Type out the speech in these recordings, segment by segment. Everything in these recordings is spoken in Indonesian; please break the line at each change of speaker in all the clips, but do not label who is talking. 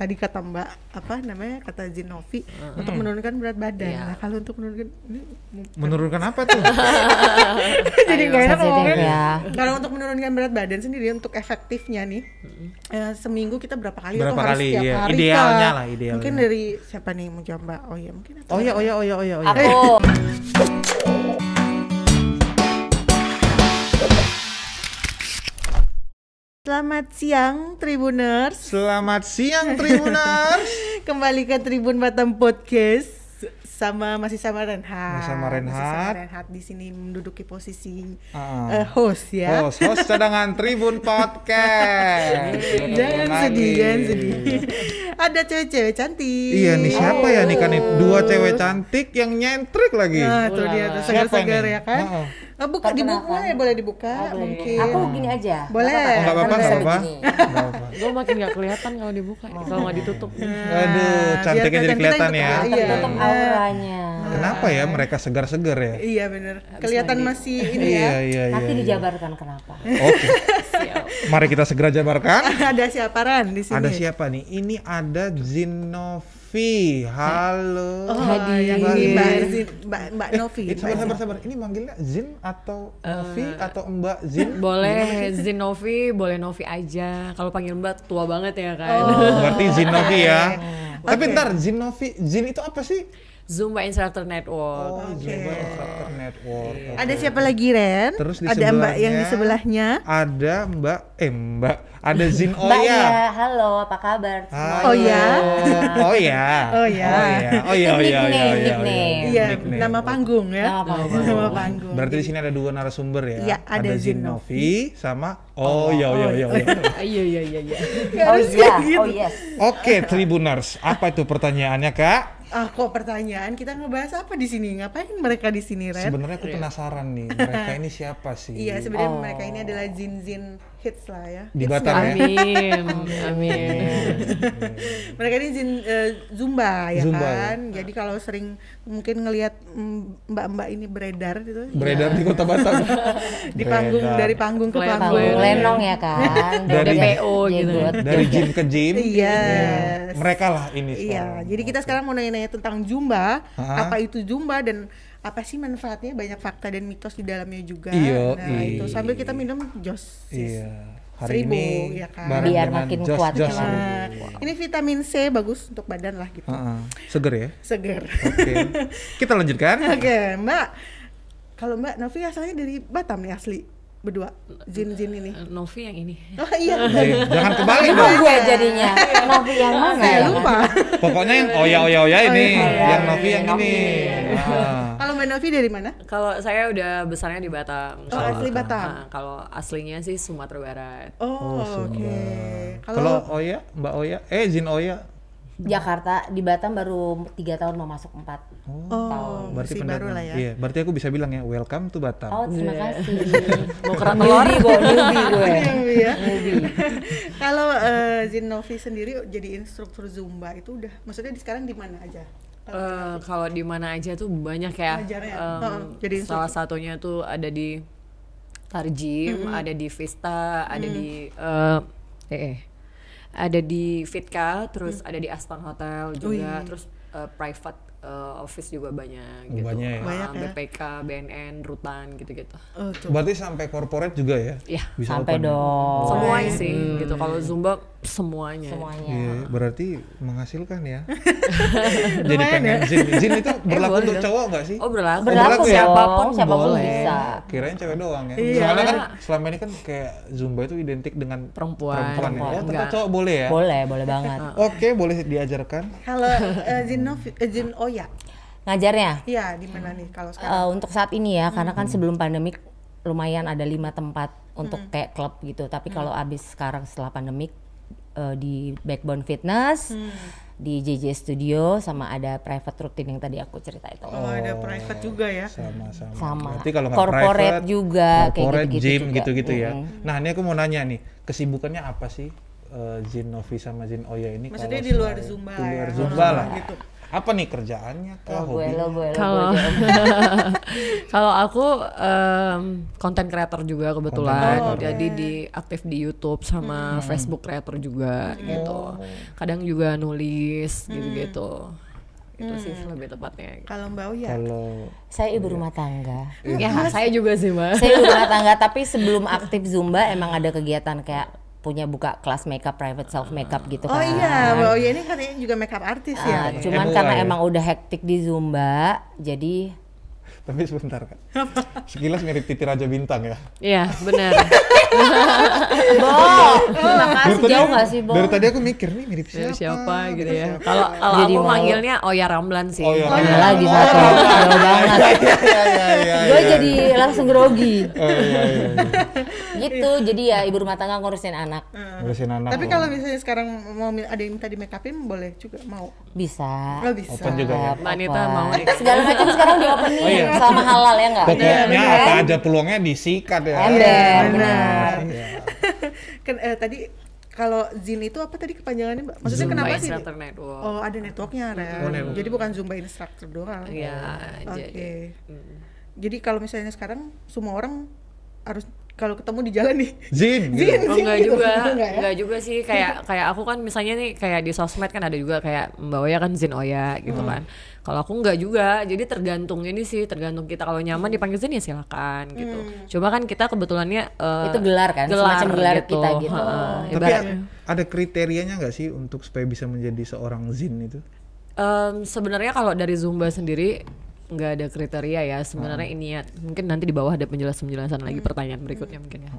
tadi kata Mbak apa namanya kata Zinovi untuk menurunkan berat badan.
Iya.
Nah, kalau untuk menurunkan ini
Menurunkan apa tuh?
jadi nggak enak
Sensitif
ngomongnya.
Iya.
ya.
Kalau untuk menurunkan berat badan sendiri untuk efektifnya nih eh, seminggu kita berapa kali
Berapa
atau harus
kali,
setiap
iya.
hari
Idealnya
Kak?
lah, idealnya.
Mungkin dari siapa nih mau jawab Mbak? Oh ya mungkin atau-
Oh ya, oh ya, oh ya,
iya,
oh ya, oh ya.
Aku
Selamat siang Tribuners.
Selamat siang Tribuners.
Kembali ke Tribun Batam Podcast sama masih sama Renhat.
Masih sama
Masih sama
Renhat.
Renhat di sini menduduki posisi
Ah.
eh, host ya.
Host, host cadangan Tribun Podcast.
Jangan sedih,
Kembali.
jangan sedih. Ada cewek-cewek cantik.
Iya nih siapa ya nih kan nih? dua cewek cantik yang nyentrik lagi.
Oh. Nah, tuh dia tuh segar-segar
Siapa ini?
ya kan.
Heeh.
Eh, buka dibuka ya, boleh dibuka mungkin.
kan? Oh, aku gini aja.
Boleh.
Nggak
Oh, nggak apa-apa,
Kan
nggak
bisa
apa-apa.
begini.
Nggak apa-apa.
gue makin nggak kelihatan kalau dibuka
Oh,
kalau nggak ditutup nih
Nah,
Aduh,
biar
cantiknya jadi
kelihatan kita
kelihatan
ikut-
ya.
Ah, Iya.
Tertutup auranya.
Kenapa ya mereka segar-segar ya?
Iya bener. Kelihatan masih ini ya.
Iya, iya, iya.
Nanti
iya.
dijabarkan kenapa.
Oke. Mari kita segera jabarkan.
Ada siapa Ran di sini?
Ada siapa nih? Ini ada Zinovi. Halo.
Oh, yang ini Mbak, Zin- Mbak, Mbak Novi.
Eh,
Mbak
sabar, sabar, sabar. Ini manggilnya Zin atau Novi atau Mbak Zin?
boleh Zinovi boleh Novi aja kalau panggil mbak tua banget ya kan
Oh.
Oh.
Berarti Zinovi ya. Tapi ntar Zinovi, Zin itu apa sih?
Zumba Instructor Network
Oh, Zumba Instructor Network. Oke.
Ada siapa lagi Ren?
Terus di
ada Mbak yang di
sebelahnya.
sebelahnya.
Ada Mbak, eh Mbak, ada Zin
Mbak ya,
Oya.
halo, apa kabar?
Halo.
Oh
iya?
ya? Oh
Oh ya.
ya.
Oh ya. Oh ya. Oh ya.
Nickname,
Oh ya. Oh ya.
nickname.
Iya,
Nickname.
nama panggung ya.
Nama panggung.
Nama panggung.
Berarti di sini ada dua narasumber ya.
Iya, ada Zin
Zinovi sama Oh ya. Oh ya. Oh ya.
iya iya iya iya
Oh iya, oh yes.
Oke, Tribuners, apa itu pertanyaannya, Kak?
Ah, kok pertanyaan kita ngebahas apa di sini? Ngapain mereka di sini, Ren?
Sebenarnya aku penasaran nih, mereka ini siapa sih?
Iya, sebenarnya mereka ini adalah jin-jin hits lah ya. Oh, iya.
Di Batam ya?
amin amin
Mereka ini jin eh, Zumba ya
Iya, Zumba, Nah.
kan. Jadi kalau sering mungkin ngelihat mm, mbak-mbak ini beredar gitu
Beredar di Kota Batam.
di panggung
Beredar.
dari panggung ke
Kelihatan
panggung.
Boleh.
Lenong ya kan.
Dari-
DPO
gitu.
Dari gym ke gym.
Iya.
Ya, Mereka lah ini
Iya,
sekarang.
jadi kita sekarang mau nanya-nanya tentang Zumba,
Hah?
apa itu Zumba dan apa sih manfaatnya? Banyak fakta dan mitos di dalamnya juga.
Iyo,
nah,
i.
itu sambil kita minum jos. sis.
Iya. Hari
Seribu,
ini
ya kan?
bareng
Biar
dengan
makin
Jos-
kuat.
Jos.
Nah, ini vitamin C bagus untuk badan lah gitu.
Heeh. Seger ya?
Seger.
Oke. kita lanjutkan.
Oke, Mbak. Kalau Mbak Novi asalnya dari Batam nih asli berdua. Jin-jin ini.
Novi yang ini
Oh iya.
Eh, jangan kebalik
Lupa
dong.
gue jadinya. Novi yang mana
Saya
ya?
Iya, lupa.
Pokoknya yang Oya Oya Oya ini,
Oya.
yang Novi yang ini. Ah.
Kalau Mbak Novi dari mana?
kalau saya udah besarnya di Batam
Oh, asli Batam.
Ah, kalau aslinya sih Sumatera Barat
Oh, oke.
Kalau Oya, Mbak Oya, eh Jin Oya.
Jakarta di Batam baru tiga tahun mau masuk empat.
Oh, masih
pendatang.
baru lah ya.
Iya, berarti aku bisa bilang ya, welcome to Batam.
Oh terima kasih.
mau kerak telur
Newbie gue, newbie gue.
Iya, iya.
Newbie.
Kalau eh, Zinovi sendiri jadi instruktur Zumba itu udah maksudnya di sekarang di mana aja?
Eh, kalau di mana aja tuh banyak ya.
Ngajarnya.
Em,
Heeh, jadi
salah satunya tuh ada di Tarjim, ada di Vista, ada di eh, eh, eh, ada di Fitka, terus
Mm.
ada di Aston Hotel juga, terus eh, private eh, office juga banyak gitu.
Banyak ya.
Eh,
Banyak ya.
BPK, BNN, Rutan gitu-gitu.
Oh, tuh.
Berarti sampai corporate juga ya?
Iya.
Bisa
Sampai
open.
dong
Oh.
Semuanya sih gitu. Kalau
Hmm.
Zumba semuanya.
semuanya.
Iya, berarti menghasilkan ya. Jadi
Lumayan
pengen zin. Zin itu berlaku
boleh
untuk
dong.
cowok nggak sih?
Oh berlaku.
Berlaku siapapun,
ya?
Siapapun
siapapun
boleh.
bisa.
Kirain cewek doang ya. Soalnya kan selama ini kan kayak Zumba itu identik dengan
Perempuan.
perempuan. ya. Oh, ternyata
Enggak.
cowok boleh ya?
Boleh, boleh banget.
Iya.
Oke, boleh diajarkan.
Kalau eh, Zinovi eh, Zin Oya,
Ngajarnya
iya di mana nih kalau sekarang?
eh, untuk saat ini ya, karena kan sebelum pandemik lumayan ada lima tempat untuk
Hmm.
kayak klub gitu. Tapi kalau abis sekarang setelah pandemik eh, di Backbone Fitness,
Hmm.
di JJ Studio, sama ada private rutin yang tadi aku cerita itu.
Oh, ada private juga ya.
Sama-sama.
Sama.
Berarti kalau nggak
Corporate
private,
juga, kayak
corporate
gitu-gitu
gym
juga.
gitu-gitu ya. Nah, ini aku mau nanya nih, kesibukannya apa sih? eh, Jin Novi sama Jin Oya ini
Maksudnya
kalau
di luar
selain-
Zumba
di
ya,
luar
kalau
Zumba
orang
lah
gitu.
apa nih kerjaannya kah
Lo gue,
hobi
lo gue, lo
Kalau
gue.
kalau aku konten creator juga
Content
kebetulan,
creator.
jadi di aktif di YouTube sama Facebook creator juga gitu. Kadang juga nulis gitu-gitu. Itu sih lebih tepatnya.
Kalau Mbak Uya,
kalau
Saya ibu rumah tangga.
Ya, saya juga sih, Mbak.
Saya ibu rumah tangga, tapi sebelum aktif Zumba emang ada kegiatan kayak punya buka kelas makeup, private self makeup gitu
oh
kan.
iya Mbak Uya ini katanya juga makeup artis ya.
Ah, cuman
MUI.
karena emang udah hektik di Zumba, jadi
tapi sebentar kak sekilas mirip Titi Raja Bintang ya
Iya, benar.
Bo, makasih jauh Ah, nggak sih Bo?
dari tadi aku mikir nih mirip
Siapa,
siapa
gitu ya. Kalau kalau
Jadi
aku
mau-
manggilnya Oya Ramlan sih.
oh ya
iya.
Ada lagi satu, jauh banget.
ya ya ya
Gue jadi langsung grogi.
oh iya iya iya.
Gitu, jadi ya ibu rumah tangga ngurusin anak.
ngurusin anak
Tapi
loh.
kalau misalnya sekarang mau mi- ada yang minta di make upin boleh juga mau.
Bisa.
Lo bisa.
open juga ya
Mbak Nita mau nih.
Segala macam sekarang diopenin
Oh iya.
sama halal ya nggak?
pokoknya apa aja peluangnya disikat ya
Ember,
benar.
Iya.
Kan eh, tadi kalau Zin itu apa tadi kepanjangannya Mbak? Maksudnya
Zumba
kenapa sih?
Instructor Network.
Oh ada networknya Ren.
Oh, network.
Jadi bukan Zumba instructor doang.
Iya,
Oke.
jadi
Jadi kalau misalnya sekarang semua orang harus kalau ketemu di jalan nih.
Jin
Zin,
Oh,
Zin
enggak
gitu.
juga,
Enggak
enggak,
ya?
juga sih kayak kayak aku kan misalnya nih kayak di sosmed kan ada juga kayak Mbak Oya kan Zin Oya gitu
Hmm.
kan. Kalau aku enggak juga, jadi tergantung ini sih, tergantung kita kalau nyaman dipanggil Zin ya silakan gitu. Cuma kan kita kebetulannya eh,
Hmm. Itu gelar kan, semacam gelar kita gitu.
Heeh,
tapi
ibarat-
a- ada kriterianya nggak sih untuk supaya bisa menjadi seorang Zin itu
Em, sebenarnya kalau dari Zumba sendiri nggak ada kriteria ya sebenarnya
Hmm.
ini ya mungkin nanti di bawah ada penjelasan-penjelasan lagi pertanyaan berikutnya
Hmm.
mungkin ya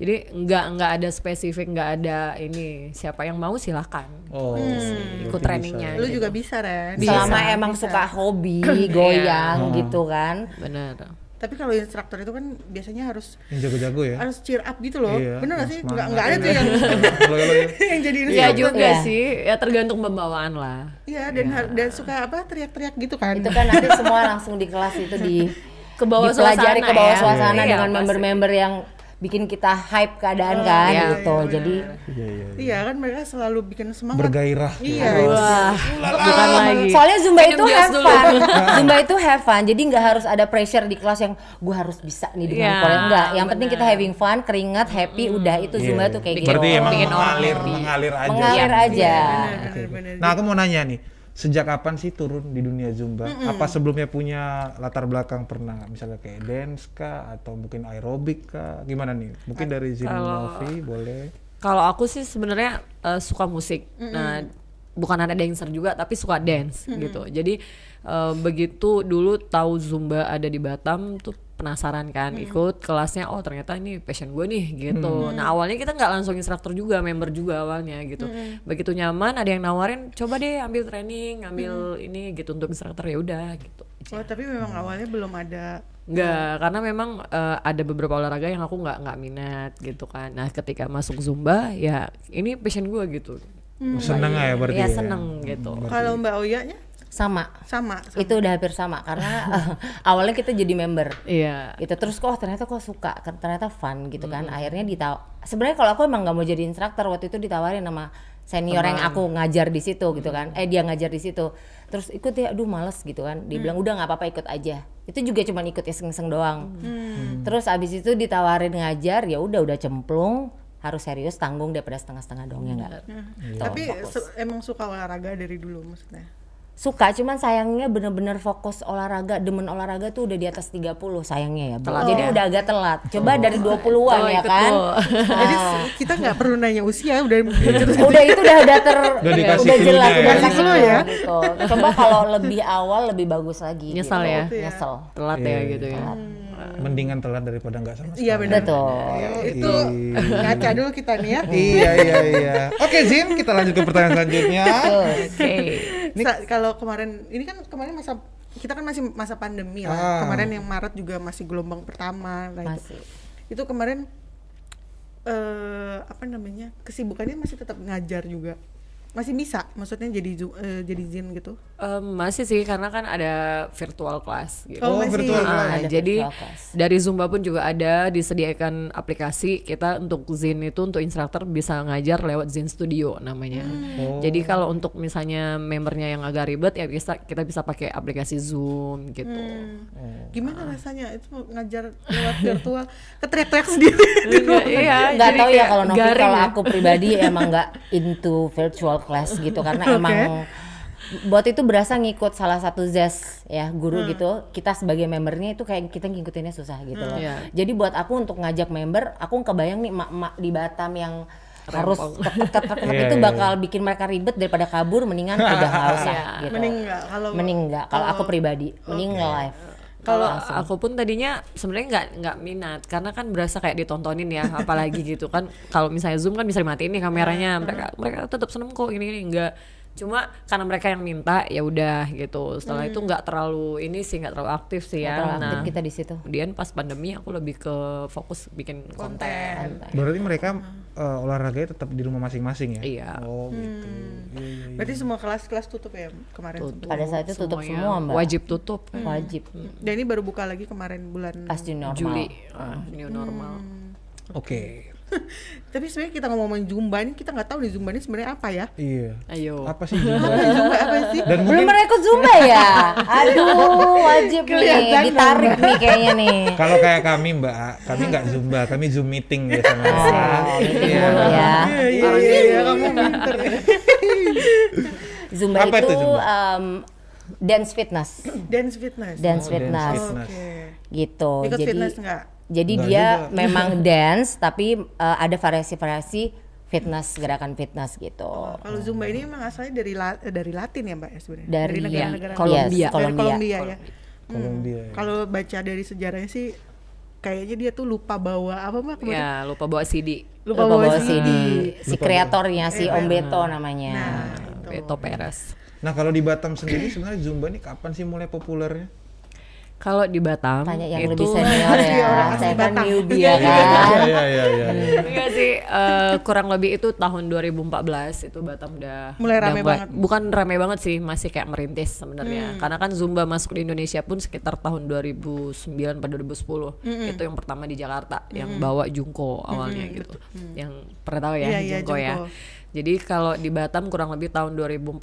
jadi nggak nggak ada spesifik nggak ada ini siapa yang mau silahkan
oh
Hmm,
ikut trainingnya
Lu
gitu.
juga bisa Ren.
Selama emang suka hobi,
Iya.
goyang gitu kan.
bener
Tapi kalau instruktur itu kan biasanya harus
yang jago-jago ya
harus cheer up gitu loh.
Iya,
Bener gak
yang
sih?
semangat.
Enggak enggak ada tuh yang
Loyo-loyo.
yang jadi
Iya
instruktur.
juga
ya.
sih ya tergantung pembawaan lah
Iya dan har- dan suka apa teriak-teriak gitu kan.
Itu kan nanti semua langsung di kelas itu di
Ke bawah
dipelajari
suasana
ke bawah
ya.
suasana
Iya,
dengan
pasti.
member-member yang bikin kita hype
Oh,
keadaan kan
iya,
gitu. Jadi
Iya, iya, iya.
Iya kan mereka selalu bikin semangat.
bergairah
Iya.
wah bukan lagi
Ah. Soalnya Zumba
Minum
itu
gas
have
dulu.
fun. Zumba itu have fun. Jadi nggak harus ada pressure di kelas yang gue harus bisa nih dengan
Iya, Hmm.
pola enggak. Yang penting kita having fun, keringat, happy, udah itu Zumba
Iya.
tuh kayak gitu.
berarti emang
Bikin orang
Iya.
mengalir
happy.
mengalir aja
Iya,
Iya.
Mengalir aja.
Bener-bener.
Nah, aku mau nanya nih, sejak kapan sih turun di dunia Zumba? Apa sebelumnya punya latar belakang pernah misalnya kayak dance kah atau mungkin aerobik kah? Gimana nih? Mungkin dari Zin Novi boleh.
Kalau aku sih sebenarnya eh, suka musik. Nah, bukan anak dancer juga tapi suka dance gitu. Jadi eh, begitu dulu tahu zumba ada di Batam tuh penasaran kan ikut kelasnya oh ternyata ini passion gue nih gitu. Nah, awalnya kita nggak langsung instruktur juga, member juga awalnya gitu. Begitu nyaman ada yang nawarin coba deh ambil training, ambil ini gitu untuk instruktur ya udah gitu.
Oh, tapi memang awalnya belum ada
Nggak, karena memang eh, ada beberapa olahraga yang aku nggak nggak minat gitu kan. Nah, ketika masuk zumba ya ini passion gue gitu.
Seneng ya berarti.
ya seneng gitu.
Mm. kalau Mbak Oyanya
Sama.
sama. sama.
Itu udah hampir sama karena awalnya kita jadi member.
Iya.
itu terus kok oh, ternyata kok suka kan ternyata fun gitu kan akhirnya ditaw sebenarnya kalau aku emang nggak mau jadi instruktur waktu itu ditawarin sama senior yang aku ngajar di situ gitu kan eh dia ngajar di situ terus ikut ya aduh males gitu kan dia bilang udah nggak apa-apa ikut aja itu juga cuma ikut iseng-iseng doang terus abis itu ditawarin ngajar ya udah udah cemplung harus serius tanggung daripada setengah-setengah doang ya nggak
Tapi
Iya.
se- emang suka olahraga dari dulu maksudnya.
suka cuman sayangnya bener-bener fokus olahraga demen olahraga tuh udah di atas 30 sayangnya ya Bu.
Telat
jadi
ya.
udah agak telat coba dari 20-an
Oh,
ya
ikut
kan
tuh.
Jadi se- kita nggak perlu nanya usia udah
Iya.
udah itu udah udah ter
Udah dikasih
jelas
clue-nya
udah
ya.
dikasih
Clue
clue
ya.
gitu. coba kalau lebih awal lebih bagus lagi
Nyesel
gitu.
ya?
nyesel
Telat
Iya,
ya gitu ya.
Mendingan telat daripada nggak sama sekali.
Iya benar.
betul
Oh,
Itu ngaca dulu kita nih ya.
iya iya iya. Oke Zin, kita lanjut ke pertanyaan selanjutnya.
Oke.
Sa- kalau kemarin ini kan kemarin masa kita kan masih masa pandemi lah.
Ah.
Kemarin yang Maret juga masih gelombang pertama lah itu.
masih
Itu kemarin eh apa namanya? Kesibukannya masih tetap ngajar juga. masih bisa maksudnya jadi zu- eh, jadi zin gitu
Em, masih sih karena kan ada virtual class gitu.
Oh,
Oh,
masih.
virtual
Ah,
class.
ada
jadi
virtual class.
dari Zumba pun juga ada disediakan aplikasi kita untuk Zin itu untuk instruktur bisa ngajar lewat Zin Studio namanya.
Oh.
Jadi kalau untuk misalnya membernya yang agak ribet ya bisa kita bisa pakai aplikasi Zoom gitu.
gimana rasanya itu ngajar lewat virtual keteriak-teriak sendiri di
Iya,
rumah.
iya,
nggak
jadi
tahu ya
kayak
kalau Novi
garing
kalau
ya.
aku pribadi emang nggak into virtual class gitu karena emang buat itu berasa ngikut salah satu zes ya guru
Hmm.
gitu kita sebagai membernya itu kayak kita ngikutinnya susah gitu loh
Iya.
jadi buat aku untuk ngajak member aku kebayang nih emak-emak di Batam yang harus tek- tek- tek- tek-
Iya,
itu
iya,
bakal bikin mereka ribet daripada kabur mendingan udah nggak usah
Iya. Oh.
gitu
mending nggak kalau
mending nggak kalau aku pribadi mending live
Kalau aku pun tadinya sebenarnya nggak nggak minat karena kan berasa kayak ditontonin ya apalagi gitu kan kalau misalnya zoom kan bisa dimatiin nih
Iya.
kameranya mereka mereka tetap seneng kok gini gini nggak cuma karena mereka yang minta ya udah gitu setelah itu nggak terlalu ini sih nggak terlalu aktif sih ya
Kalau Hmm. aktif gitu.
nah
kita di situ
kemudian pas pandemi aku lebih ke fokus bikin konten,
Berarti mereka eh, olahraganya tetap di rumah masing-masing ya?
Iya.
Oh gitu. Iya, iya, iya.
berarti semua kelas-kelas tutup ya kemarin
Tutup
Pada saat itu tutup
semuanya.
semua, Mbak.
ya. wajib tutup
wajib
dan ini baru buka lagi kemarin bulan
pasti normal
Hmm,
Hmm.
Juli ah, new normal
Oke.
tapi sebenarnya kita ngomongin zumba ini kita nggak tahu nih zumba ini sebenarnya apa ya
Iya.
ayo
Apa sih Zumba?
zumba apa sih
Dan
Belum
mungkin
pernah ikut Zumba ya? Aduh, wajib
Kelihatan
nih, ditarik nih kayaknya nih.
kalau kayak kami Mbak, A, kami nggak Zumba, kami Zoom meeting biasanya.
Oh, meeting
Iya.
mulu ya.
iya iya iya kamu
kan
pinter
Zumba
Apa
itu
itu Zumba?
em, dance fitness,
dance fitness
dance
Oh, dance
fitness
fitness.
oke
gitu.
ikut
jadi
fitness nggak
jadi
Nggak
dia
juga.
memang dance tapi eh, ada variasi-variasi fitness, gerakan fitness gitu.
Oh, kalau zumba ini emang asalnya dari la- dari Latin ya mbak ya sebenarnya
Dari,
negara-negara
yes,
Kolombia.
dari
Kolombia.
Kolombia ya
Hmm.
Kolombia. ya.
kalau baca dari sejarahnya sih kayaknya dia tuh lupa bawa apa mbak kemarin?
ya lupa bawa CD
Iya. lupa,
Lupa
bawa
bawa
CD.
CD, si kreatornya si Om Beto namanya.
Nah, itu.
Beto Perez
Nah kalau di Batam sendiri sebenarnya Zumba ini kapan sih mulai populernya?
Kalau di Batam
Tanya yang
itu
lebih senior
Pasti
ya,
Iya, orang asli
saya kan
Batam.
newbie ya
Iya,
kan.
iya iya iya. iya.
Enggak sih, eh, kurang lebih itu tahun 2014 itu Batam udah
Mulai
udah
rame
mulai-
banget. Hmm.
Bukan rame banget sih, masih kayak merintis sebenarnya. Karena kan Zumba masuk di Indonesia pun sekitar tahun 2009 pada 2010. Itu yang pertama di Jakarta yang bawa Jungko awalnya gitu. Yang pernah tahu ya
Hmm. Iya, iya,
Jungko ya.
Jungko.
Jadi kalau di Batam kurang lebih tahun 2014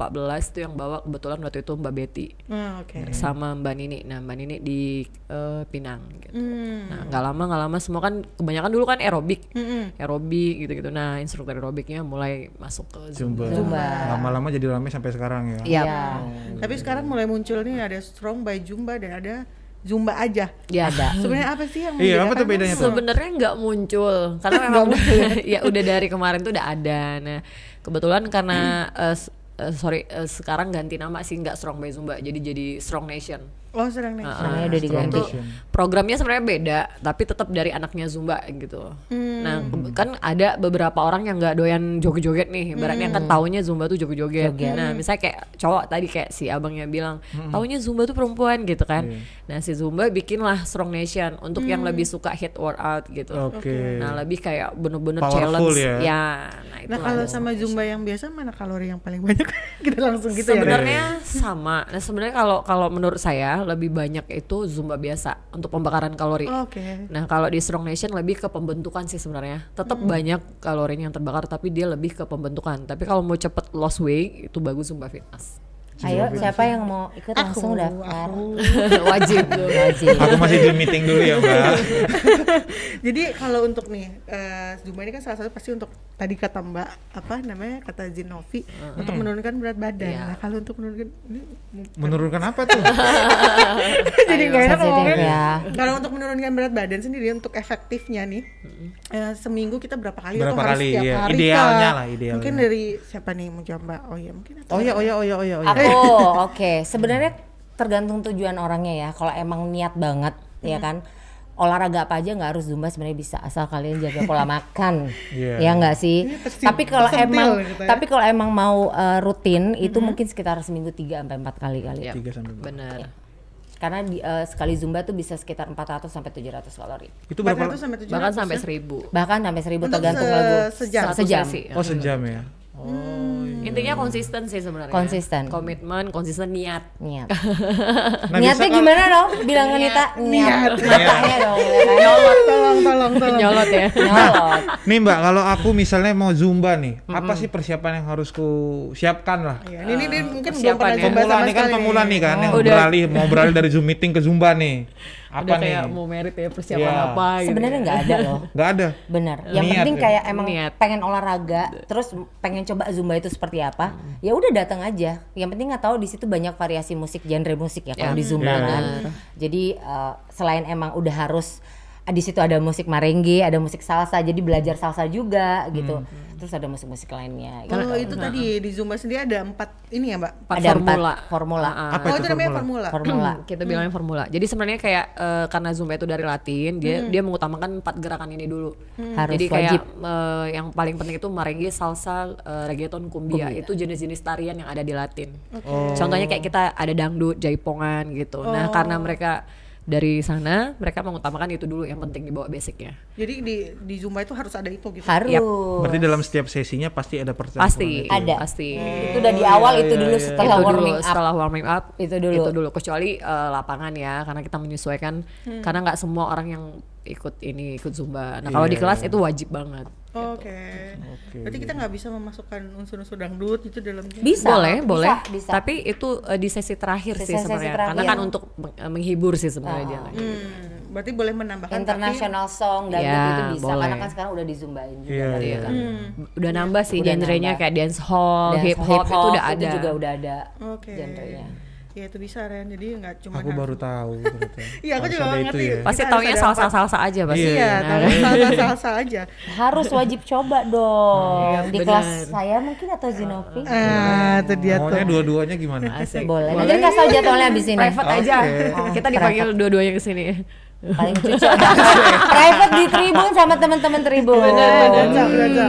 itu yang bawa kebetulan waktu itu Mbak Betty
Ah, oke
sama Mbak Nini. Nah, Mbak Nini di eh, Pinang gitu. Nah, nggak lama nggak lama semua kan kebanyakan dulu kan aerobik.
Hmm.
Aerobik gitu-gitu. Nah, instruktur aerobiknya mulai masuk ke Zumba.
Zumba. Lama-lama jadi rame sampai sekarang ya.
Iya.
Oh. tapi sekarang mulai muncul nih ada strong by zumba dan ada zumba aja
Ya ada.
sebenarnya apa sih yang
Iya, apa tuh
membedakan?
bedanya tuh?
Sebenarnya nggak muncul karena memang ya udah dari kemarin tuh udah ada. Nah, kebetulan karena eh, s- eh, sorry eh, sekarang ganti nama sih nggak Strong by Zumba jadi jadi Strong Nation.
oh serang nih
Namanya udah diganti.
itu programnya sebenarnya beda tapi tetap dari anaknya zumba gitu
Hmm.
nah ke- kan ada beberapa orang yang nggak doyan joget-joget nih ibaratnya
Hmm.
kan taunya zumba tuh joget-joget nah misalnya kayak cowok tadi kayak si abangnya bilang
Hmm.
taunya zumba tuh perempuan gitu kan
Iya.
nah si zumba bikinlah strong nation untuk
Hmm.
yang lebih suka hit workout gitu
Oke.
nah lebih kayak bener-bener
Powerful
challenge
ya.
nah itu
nah kalau sama zumba yang biasa mana kalori yang paling banyak kita langsung gitu ya
Iya.
sebenarnya sama. Nah sebenarnya kalau kalau menurut saya lebih banyak itu zumba biasa untuk pembakaran kalori.
Oh,
oke
Nah kalau di Strong Nation lebih ke pembentukan sih sebenarnya. Tetap banyak kalorinya yang terbakar tapi dia lebih ke pembentukan. Tapi kalau mau cepet lost weight itu bagus Zumba Fitness.
Ayo, siapa yang mau ikut langsung daftar?
Wajib.
Wajib.
Aku masih di meeting dulu ya Mbak.
Jadi kalau untuk nih eh Zumba ini kan salah satu pasti untuk tadi kata Mbak apa namanya kata Zinovi untuk menurunkan berat badan.
Iya.
Nah kalau untuk menurunkan ini
Menurunkan apa tuh?
jadi nggak enak Iya.
sensitif
ngomongin.
ya.
Kalau untuk menurunkan berat badan sendiri untuk efektifnya nih eh, seminggu kita berapa kali
Berapa
atau
kali,
harus setiap
iya.
hari?
Idealnya
Kak?
lah, idealnya.
Mungkin dari siapa nih mau jawab Mbak? Oh iya mungkin. atau-
Oh iya oh iya oh iya oh iya.
Aku, oke. Sebenarnya tergantung tujuan orangnya ya. Kalau emang niat banget, ya kan. Olahraga apa aja nggak harus zumba sebenarnya bisa asal kalian jaga pola makan,
Iya.
ya nggak sih.
Ini tersentil-
Tapi kalau
tersentil
emang,
gitu ya.
tapi kalau emang mau eh, rutin itu mungkin sekitar seminggu 3 sampai empat kali kali.
Iya.
Tiga sampai empat.
Bener.
Karena di, eh, sekali zumba tuh bisa sekitar 400 sampai 700 kalori.
Itu berapa?
400 sampai 700
Bahkan sampai
ya?
seribu.
Bahkan sampai 1000
Untuk
tergantung
se-
lagu.
sejam.
Ya, Sejam.
sesi. Hmm.
Oh sejam ya. Oh, iya.
Intinya konsisten sih sebenarnya.
Konsisten.
Komitmen, konsisten niat.
niat
Nah,
niatnya
biasa kalau-
gimana dong bilang ke Nita niat matanya dong ya kan?
Tolong, tolong, tolong, tolong.
Nyolot ya.
nyolot
Nih Mbak, kalau aku misalnya mau zumba nih, apa sih persiapan yang harus ku siapkan lah?
Iya, ini, ini
Eh,
mungkin belum
persiapan
pernah
ya.
coba
Pemula
sama
nih kan
sekali Oh,
pemula nih kan yang
Udah.
beralih mau beralih dari zoom meeting ke zumba nih. Apa
Udah
nih?
kayak mau merit ya persiapan
Iya.
apa gitu.
sebenarnya nggak ada loh
Nggak ada.
benar yang
Niat
penting
ya.
kayak emang
Niat.
pengen olahraga terus pengen coba zumba itu seperti apa ya udah datang aja yang penting nggak tahu di situ banyak variasi musik genre musik ya kalau
Ya,
di zumba
benar.
kan jadi eh, selain emang udah harus eh, di situ ada musik marengge ada musik salsa jadi belajar salsa juga gitu terus ada musik-musik lainnya gitu.
Kalau Oh, itu tadi di Zumba sendiri ada empat ini ya, Mbak?
Empat
ada empat
formula.
formula
Apa
oh,
itu
itu namanya
formula?
formula.
formula
kita bilangnya formula. Jadi sebenarnya kayak eh, karena zumba itu dari Latin, dia dia mengutamakan empat gerakan ini dulu.
Hmm. Harus
Jadi kayak
wajib.
eh, yang paling penting itu merengue, salsa, eh, reggaeton, cumbia. Itu jenis-jenis tarian yang ada di Latin. Contohnya kayak kita ada dangdut, jaipongan gitu.
Oh.
Nah, karena mereka dari sana, mereka mengutamakan itu dulu yang penting dibawa basicnya.
Jadi di di Zumba itu harus ada itu gitu.
harus
Berarti dalam setiap sesinya pasti ada persiapan.
Pasti,
Ada. Hmm.
Pasti.
itu udah di
Oh,
awal itu dulu
Iya.
setelah
iya, itu dulu,
warming up
setelah warming up
Itu dulu.
itu dulu kecuali eh, lapangan ya karena kita menyesuaikan
Hmm.
karena nggak semua orang yang ikut ini ikut zumba
Iya,
nah kalau di kelas itu wajib banget
Oke. Berarti kita nggak bisa memasukkan unsur-unsur dangdut gitu itu dalam
bisa
boleh
bisa,
boleh
bisa.
tapi itu eh, di sesi terakhir
Sesi-
sih
sesi
sebenarnya
terakhir. Ah.
karena kan untuk meng- eh, menghibur sih sebenarnya dia
Hmm, berarti boleh menambahkan
international song dan
Ya,
itu bisa
boleh.
karena kan sekarang udah dizumbain juga
Iya,
dari
iya.
kan.
Hmm,
udah nambah sih
Udah
genrenya
nambah.
kayak dance hall
Dan
hip hop Oh, itu udah ada
juga udah ada
tapi- Oke.
genrenya
Ya itu bisa Ren. Jadi nggak cuma
Aku baru tahu. ternyata.
Iya, aku
Harus
juga
ada
nggak
itu
ngerti.
ya.
Kita
pasti
harus
taunya
ada
salsa
empat.
salsa aja pasti
Iya,
Nah,
tahu salsa-salsa aja.
harus wajib coba dong di
Iya, benar.
kelas saya mungkin atau Zinovi
Iya.
Ah, itu dia tuh.
Maunya dua-duasnya gimana?
asik.
boleh nanti kasih tau jadwalnya abis ini
private aja
Oke.
kita dipanggil dua-duanya ke
Nah,
sini
paling cucu ada private di tribun sama teman-teman tribun Hmm.
Belanja, belanja.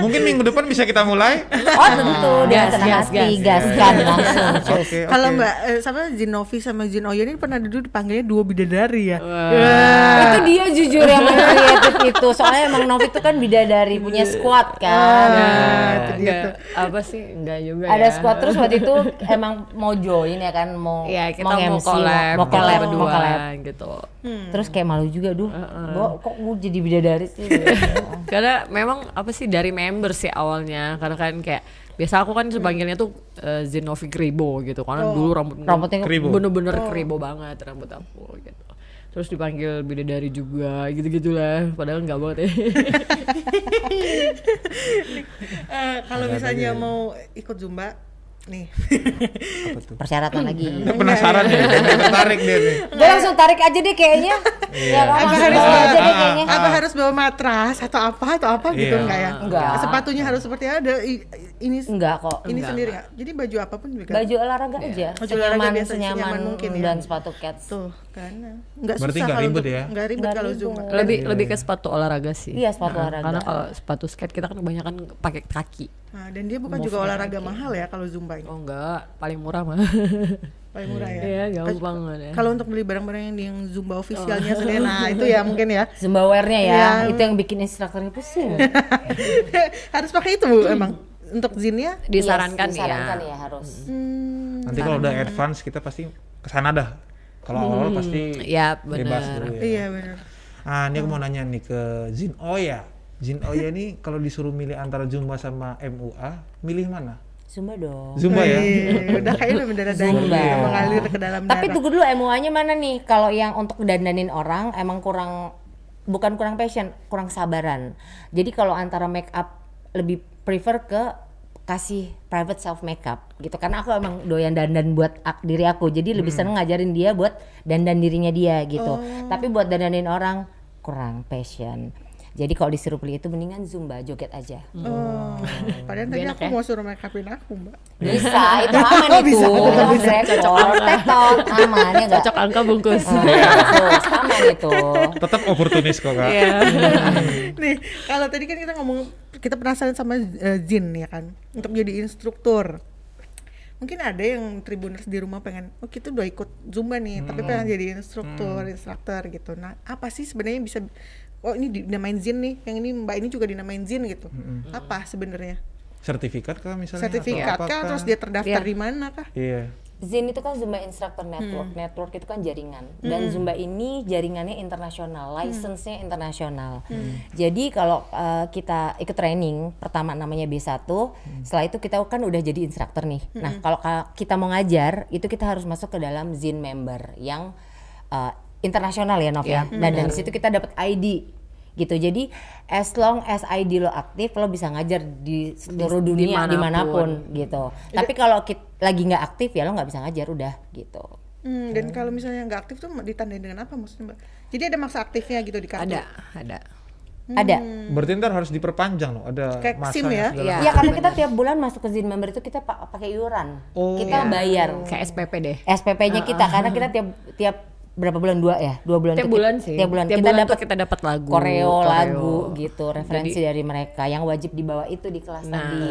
Mungkin minggu depan bisa kita mulai.
oh tentu dengan
Gas,
senang
gas,
hati
gas.
gaskan langsung cus
Oke,
Eh, Kalau
oke.
Mbak eh, sama Zinovi sama Jin Oyo ini pernah dulu dipanggilnya dua bidadari ya.
itu dia jujur yang kreatif itu soalnya emang Novi itu kan bidadari punya
Iya.
squad kan
Nah, itu dia
Enggak,
tuh.
apa sih enggak juga
ada
ya.
squad terus waktu itu emang mau join ya kan mau
ya kita mau,
MC,
collab
mau collab
kita
mau
berdua
collab Hmm.
gitu
Hmm.
terus kayak malu juga duh Bo, kok gue jadi bidadari sih
karena memang apa sih dari member sih awalnya karena kan kayak biasa aku kan dipanggilnya tuh eh, Zinovi Kribo gitu karena dulu rambut
Oh. Rambutnya- Oh.
Kribo.
bener-bener kribo banget rambut aku gitu terus dipanggil bidadari juga gitu gitulah padahal nggak banget ya
Eh, kalau misalnya mau ikut zumba nih.
Apa tuh?
persyaratan lagi
Penasaran deh, tertarik deh. nih.
gue langsung tarik aja deh kayaknya ya
apa
kan langsung
Iya. harus
bawa
bawa,
aja deh kayaknya
apa harus bawa matras atau apa atau apa gitu
Iya.
enggak ya?
Enggak.
Sepatunya harus seperti ada i- ini
enggak kok
ini sendiri ya. Jadi baju apapun juga.
baju olahraga aja
Baju olahraga
senyaman
biasa,
senyaman
senyaman mungkin ya.
dan sepatu cats
Tuh, kan. Enggak
Berarti
susah
nggak
kalau
ribet
untuk-
ya?
Enggak ribet
Nggak
kalau
ribet.
zumba.
lebih lebih ke sepatu olahraga sih
Iya, sepatu
Nah,
olahraga.
karena kalau sepatu skate kita kan kebanyakan pakai kaki
Nah, dan dia bukan juga olahraga mahal ya kalau zumba ini.
oh enggak paling murah mah
Paling murah ya.
Iya, gampang banget ya.
Kalau untuk beli barang-barang yang, yang zumba
Oh.
ofisialnya sendiri, nah itu ya mungkin ya.
Zumbawernya ya,
Iya.
itu yang bikin instrukturnya pusing.
harus pakai itu Bu, emang untuk zinnya hmm,
disarankan,
Yes, Iya, disarankan ya harus.
Nanti kalau udah advance kita pasti kesana dah. Kalau awal-awal pasti
ya ya
bebas
benar
dulu ya.
Iya benar.
Ah, ini aku mau nanya nih ke Jin Oya. Jin Oya ini kalau disuruh milih antara Zumba sama MUA, milih mana?
Zumba dong.
Zumba ya.
Iya, udah kayaknya udah mendarah daging
Zumba.
udah mengalir ke dalam
Tapi
darah.
tunggu dulu MUA-nya mana nih? Kalau yang untuk dandanin orang emang kurang bukan kurang passion, kurang sabaran. Jadi kalau antara make up lebih prefer ke kasih private self makeup gitu karena aku emang doyan dandan buat ak- diri aku jadi lebih
Hmm.
seneng ngajarin dia buat dandan dirinya dia gitu
Oh.
tapi buat dandanin orang kurang passion jadi kalau disuruh pilih itu mendingan zumba joget aja
Oh, padahal tadi aku mau suruh make upin aku, Mbak.
bisa itu aman itu
Oh, Bisa, betul,
Rekor, tekton, aman ya nggak Nah,
cocok angka bungkus
Iya. Bagus, aman itu.
Tetap oportunis kok kak.
Iya.
Nih, kalau tadi kan kita ngomong kita penasaran sama eh, Jin ya kan, untuk jadi instruktur. Mungkin ada yang tribuners di rumah pengen, oh kita udah ikut zumba nih, tapi pengen
Hmm.
jadi instruktur, instruktur gitu. Nah, apa sih sebenarnya yang bisa
Hmm.
oh ini dinamain Jin nih, yang ini Mbak ini juga dinamain Jin gitu. Apa sebenarnya?
sertifikat kah misalnya? atau
sertifikat
apakah?
kah terus dia terdaftar
Iya.
di mana kah
Iya.
Zin itu kan Zumba Instructor
Hmm.
Network. Network itu kan jaringan. Dan Zumba ini jaringannya
Hmm.
internasional, license-nya internasional. Jadi kalau uh, kita ikut training, pertama namanya B1,
Hmm.
setelah itu kita kan udah jadi instruktur nih. Nah, kalau ka- kita mau ngajar, itu kita harus masuk ke dalam Zin member yang uh, internasional ya, Nov ya.
Ya,
Nah, dari situ kita dapat ID gitu. Jadi as long as ID lo aktif, lo bisa ngajar di seluruh
Di-
dunia
dimanapun.
dimanapun gitu. Tapi kalau kit- lagi nggak aktif ya lo nggak bisa ngajar udah gitu.
Hmm, dan kalau misalnya nggak aktif tuh ditandain dengan apa maksudnya mbak? Jadi ada masa aktifnya gitu di kartu.
ada ada Hmm.
Ada.
Berarti ntar harus diperpanjang loh, ada
Hmm. Kayak
masanya
SIM ya?
segala
Iya.
Iya karena kita
bener.
tiap bulan masuk ke Zin member itu kita pa- pakai iuran.
Oh.
kita
Iya.
bayar
kayak SPP deh
SPP-nya kita karena kita tiap tiap berapa bulan dua ya dua bulan
tiap
itu kita-
bulan sih
tiap bulan
tiap
kita
bulan
dapat
tuh kita dapat lagu
koreo,
koreo.
lagu gitu referensi dari mereka yang wajib dibawa itu di kelas
Nah.
tadi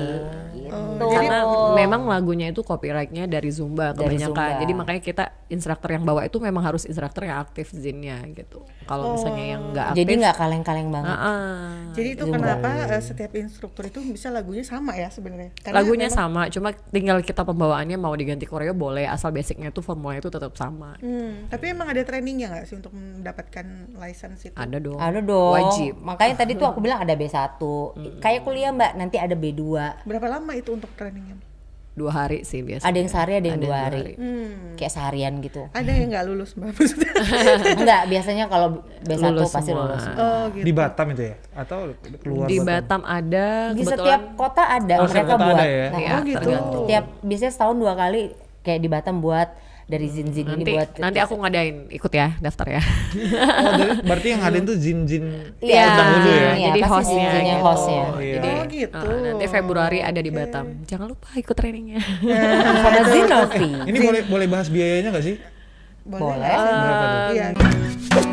gitu.
Oh, karena memang lagunya itu copyrightnya dari Zumba
Dari
kebanyakan
Zumba.
jadi makanya kita instruktur yang bawa itu memang harus instruktur yang aktif zinnya gitu
Oh.
kalau misalnya yang nggak aktif
jadi nggak kaleng-kaleng banget.
ah,
Jadi itu kenapa eh, setiap instruktur itu bisa lagunya sama ya sebenarnya? Karena
lagunya
memang-
sama cuma tinggal kita pembawaannya mau diganti koreo boleh asal basicnya tuh formulanya itu tetap sama
Hmm, tapi emang ada trainingnya nggak sih untuk mendapatkan license itu?
ada dong
Ada Anu dong.
wajib Hmm.
Makanya tadi tuh aku bilang ada B1. Kayak kuliah Mbak, nanti ada B2.
Berapa lama itu untuk trainingnya?
dua hari sih biasanya
Ada yang sehari, ada yang dua
Ada yang dua
hari.
hari.
Hmm,
Kayak seharian gitu.
ada yang nggak lulus mbak maksudnya?
Enggak, biasanya kalau B1
Lulus
pasti
semua.
lulus.
oh gitu.
Di Batam itu ya? Atau keluar
di
Batam?
Batam ada
Di
kebetulan
setiap kota ada
Oh, setiap
mereka
kota
buat.
ada ya?
Nah,
Iya,
Oh, gitu.
tergantung.
Tiap biasanya setahun dua kali kayak di Batam buat dari zin-zin ini
nanti
buat
nanti aku ngadain ikut ya daftar ya
Oh, jadi- berarti yang ngadain tuh jin-jin
Iya,
dulu ya?
iya,
jadi
pasti
hostnya
zin-zinnya
gitu.
hostnya.
Oh, iya.
Jadi,
Oh, gitu.
uh, nanti Februari ada di Batam. Jangan lupa ikut trainingnya.
sama Zinovi.
Ini boleh boleh bahas biayanya nggak sih?
Boleh. Iya.
Boleh.
nggak sih?
Berapa tuh?
Iya.